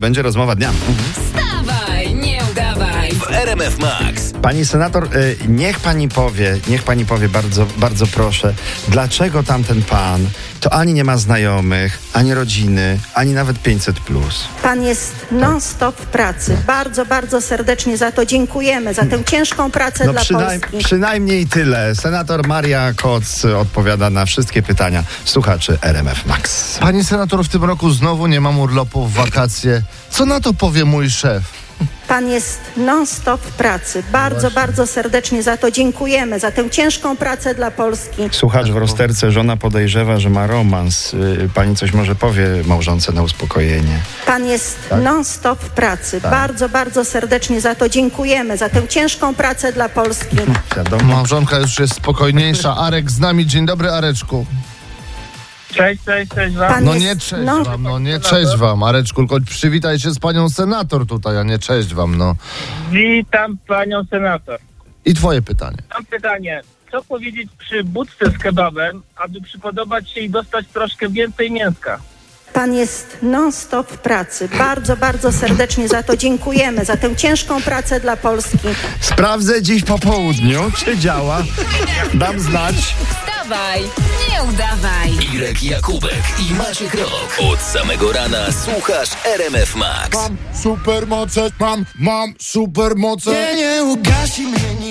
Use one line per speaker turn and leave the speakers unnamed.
Będzie rozmowa dnia.
Wstawaj, nie udawaj!
w RMF Max.
Pani senator, y, niech pani powie, niech pani powie bardzo, bardzo proszę, dlaczego tamten pan to ani nie ma znajomych, ani rodziny, ani nawet 500 plus.
Pan jest non-stop w pracy. Bardzo, bardzo serdecznie za to dziękujemy, za tę ciężką pracę
No
dla
przynajm-
Polski.
przynajmniej tyle. Senator Maria Koc y, odpowiada na wszystkie pytania słuchaczy RMF Max.
Panie senator, w tym roku znowu nie mam urlopów w wakacje. Co na to powie mój szef?
Pan jest non-stop w pracy. Bardzo, bardzo serdecznie za to dziękujemy, za tę ciężką pracę dla Polski.
Słuchacz w rozterce, żona podejrzewa, że ma romans. Y, Pani coś może powie małżonce na uspokojenie.
Pan jest non-stop w pracy. Bardzo, bardzo serdecznie za to dziękujemy, za tę ciężką pracę dla Polski.
Wiadomo.
Małżonka już jest spokojniejsza. Arek z nami. Dzień dobry, Areczku.
Cześć, cześć, cześć wam.
Pan
No
jest,
nie cześć
no,
wam, no nie cześć wam. Areczku, tylko przywitaj się z panią senator tutaj, a nie cześć wam, no.
Witam panią senator.
I twoje pytanie.
Mam pytanie. Co powiedzieć przy budce z kebabem, aby przypodobać się i dostać troszkę więcej mięska?
pan jest non-stop w pracy. Bardzo, bardzo serdecznie za to dziękujemy, za tę ciężką pracę dla Polski.
Sprawdzę dziś po południu, czy działa. Dam znać.
Wstawaj, nie udawaj!
Irek Jakubek i Maciek Rok. Od samego rana słuchasz RMF Max.
Mam supermoce, mam, mam supermoce. Nie, nie ugasi mnie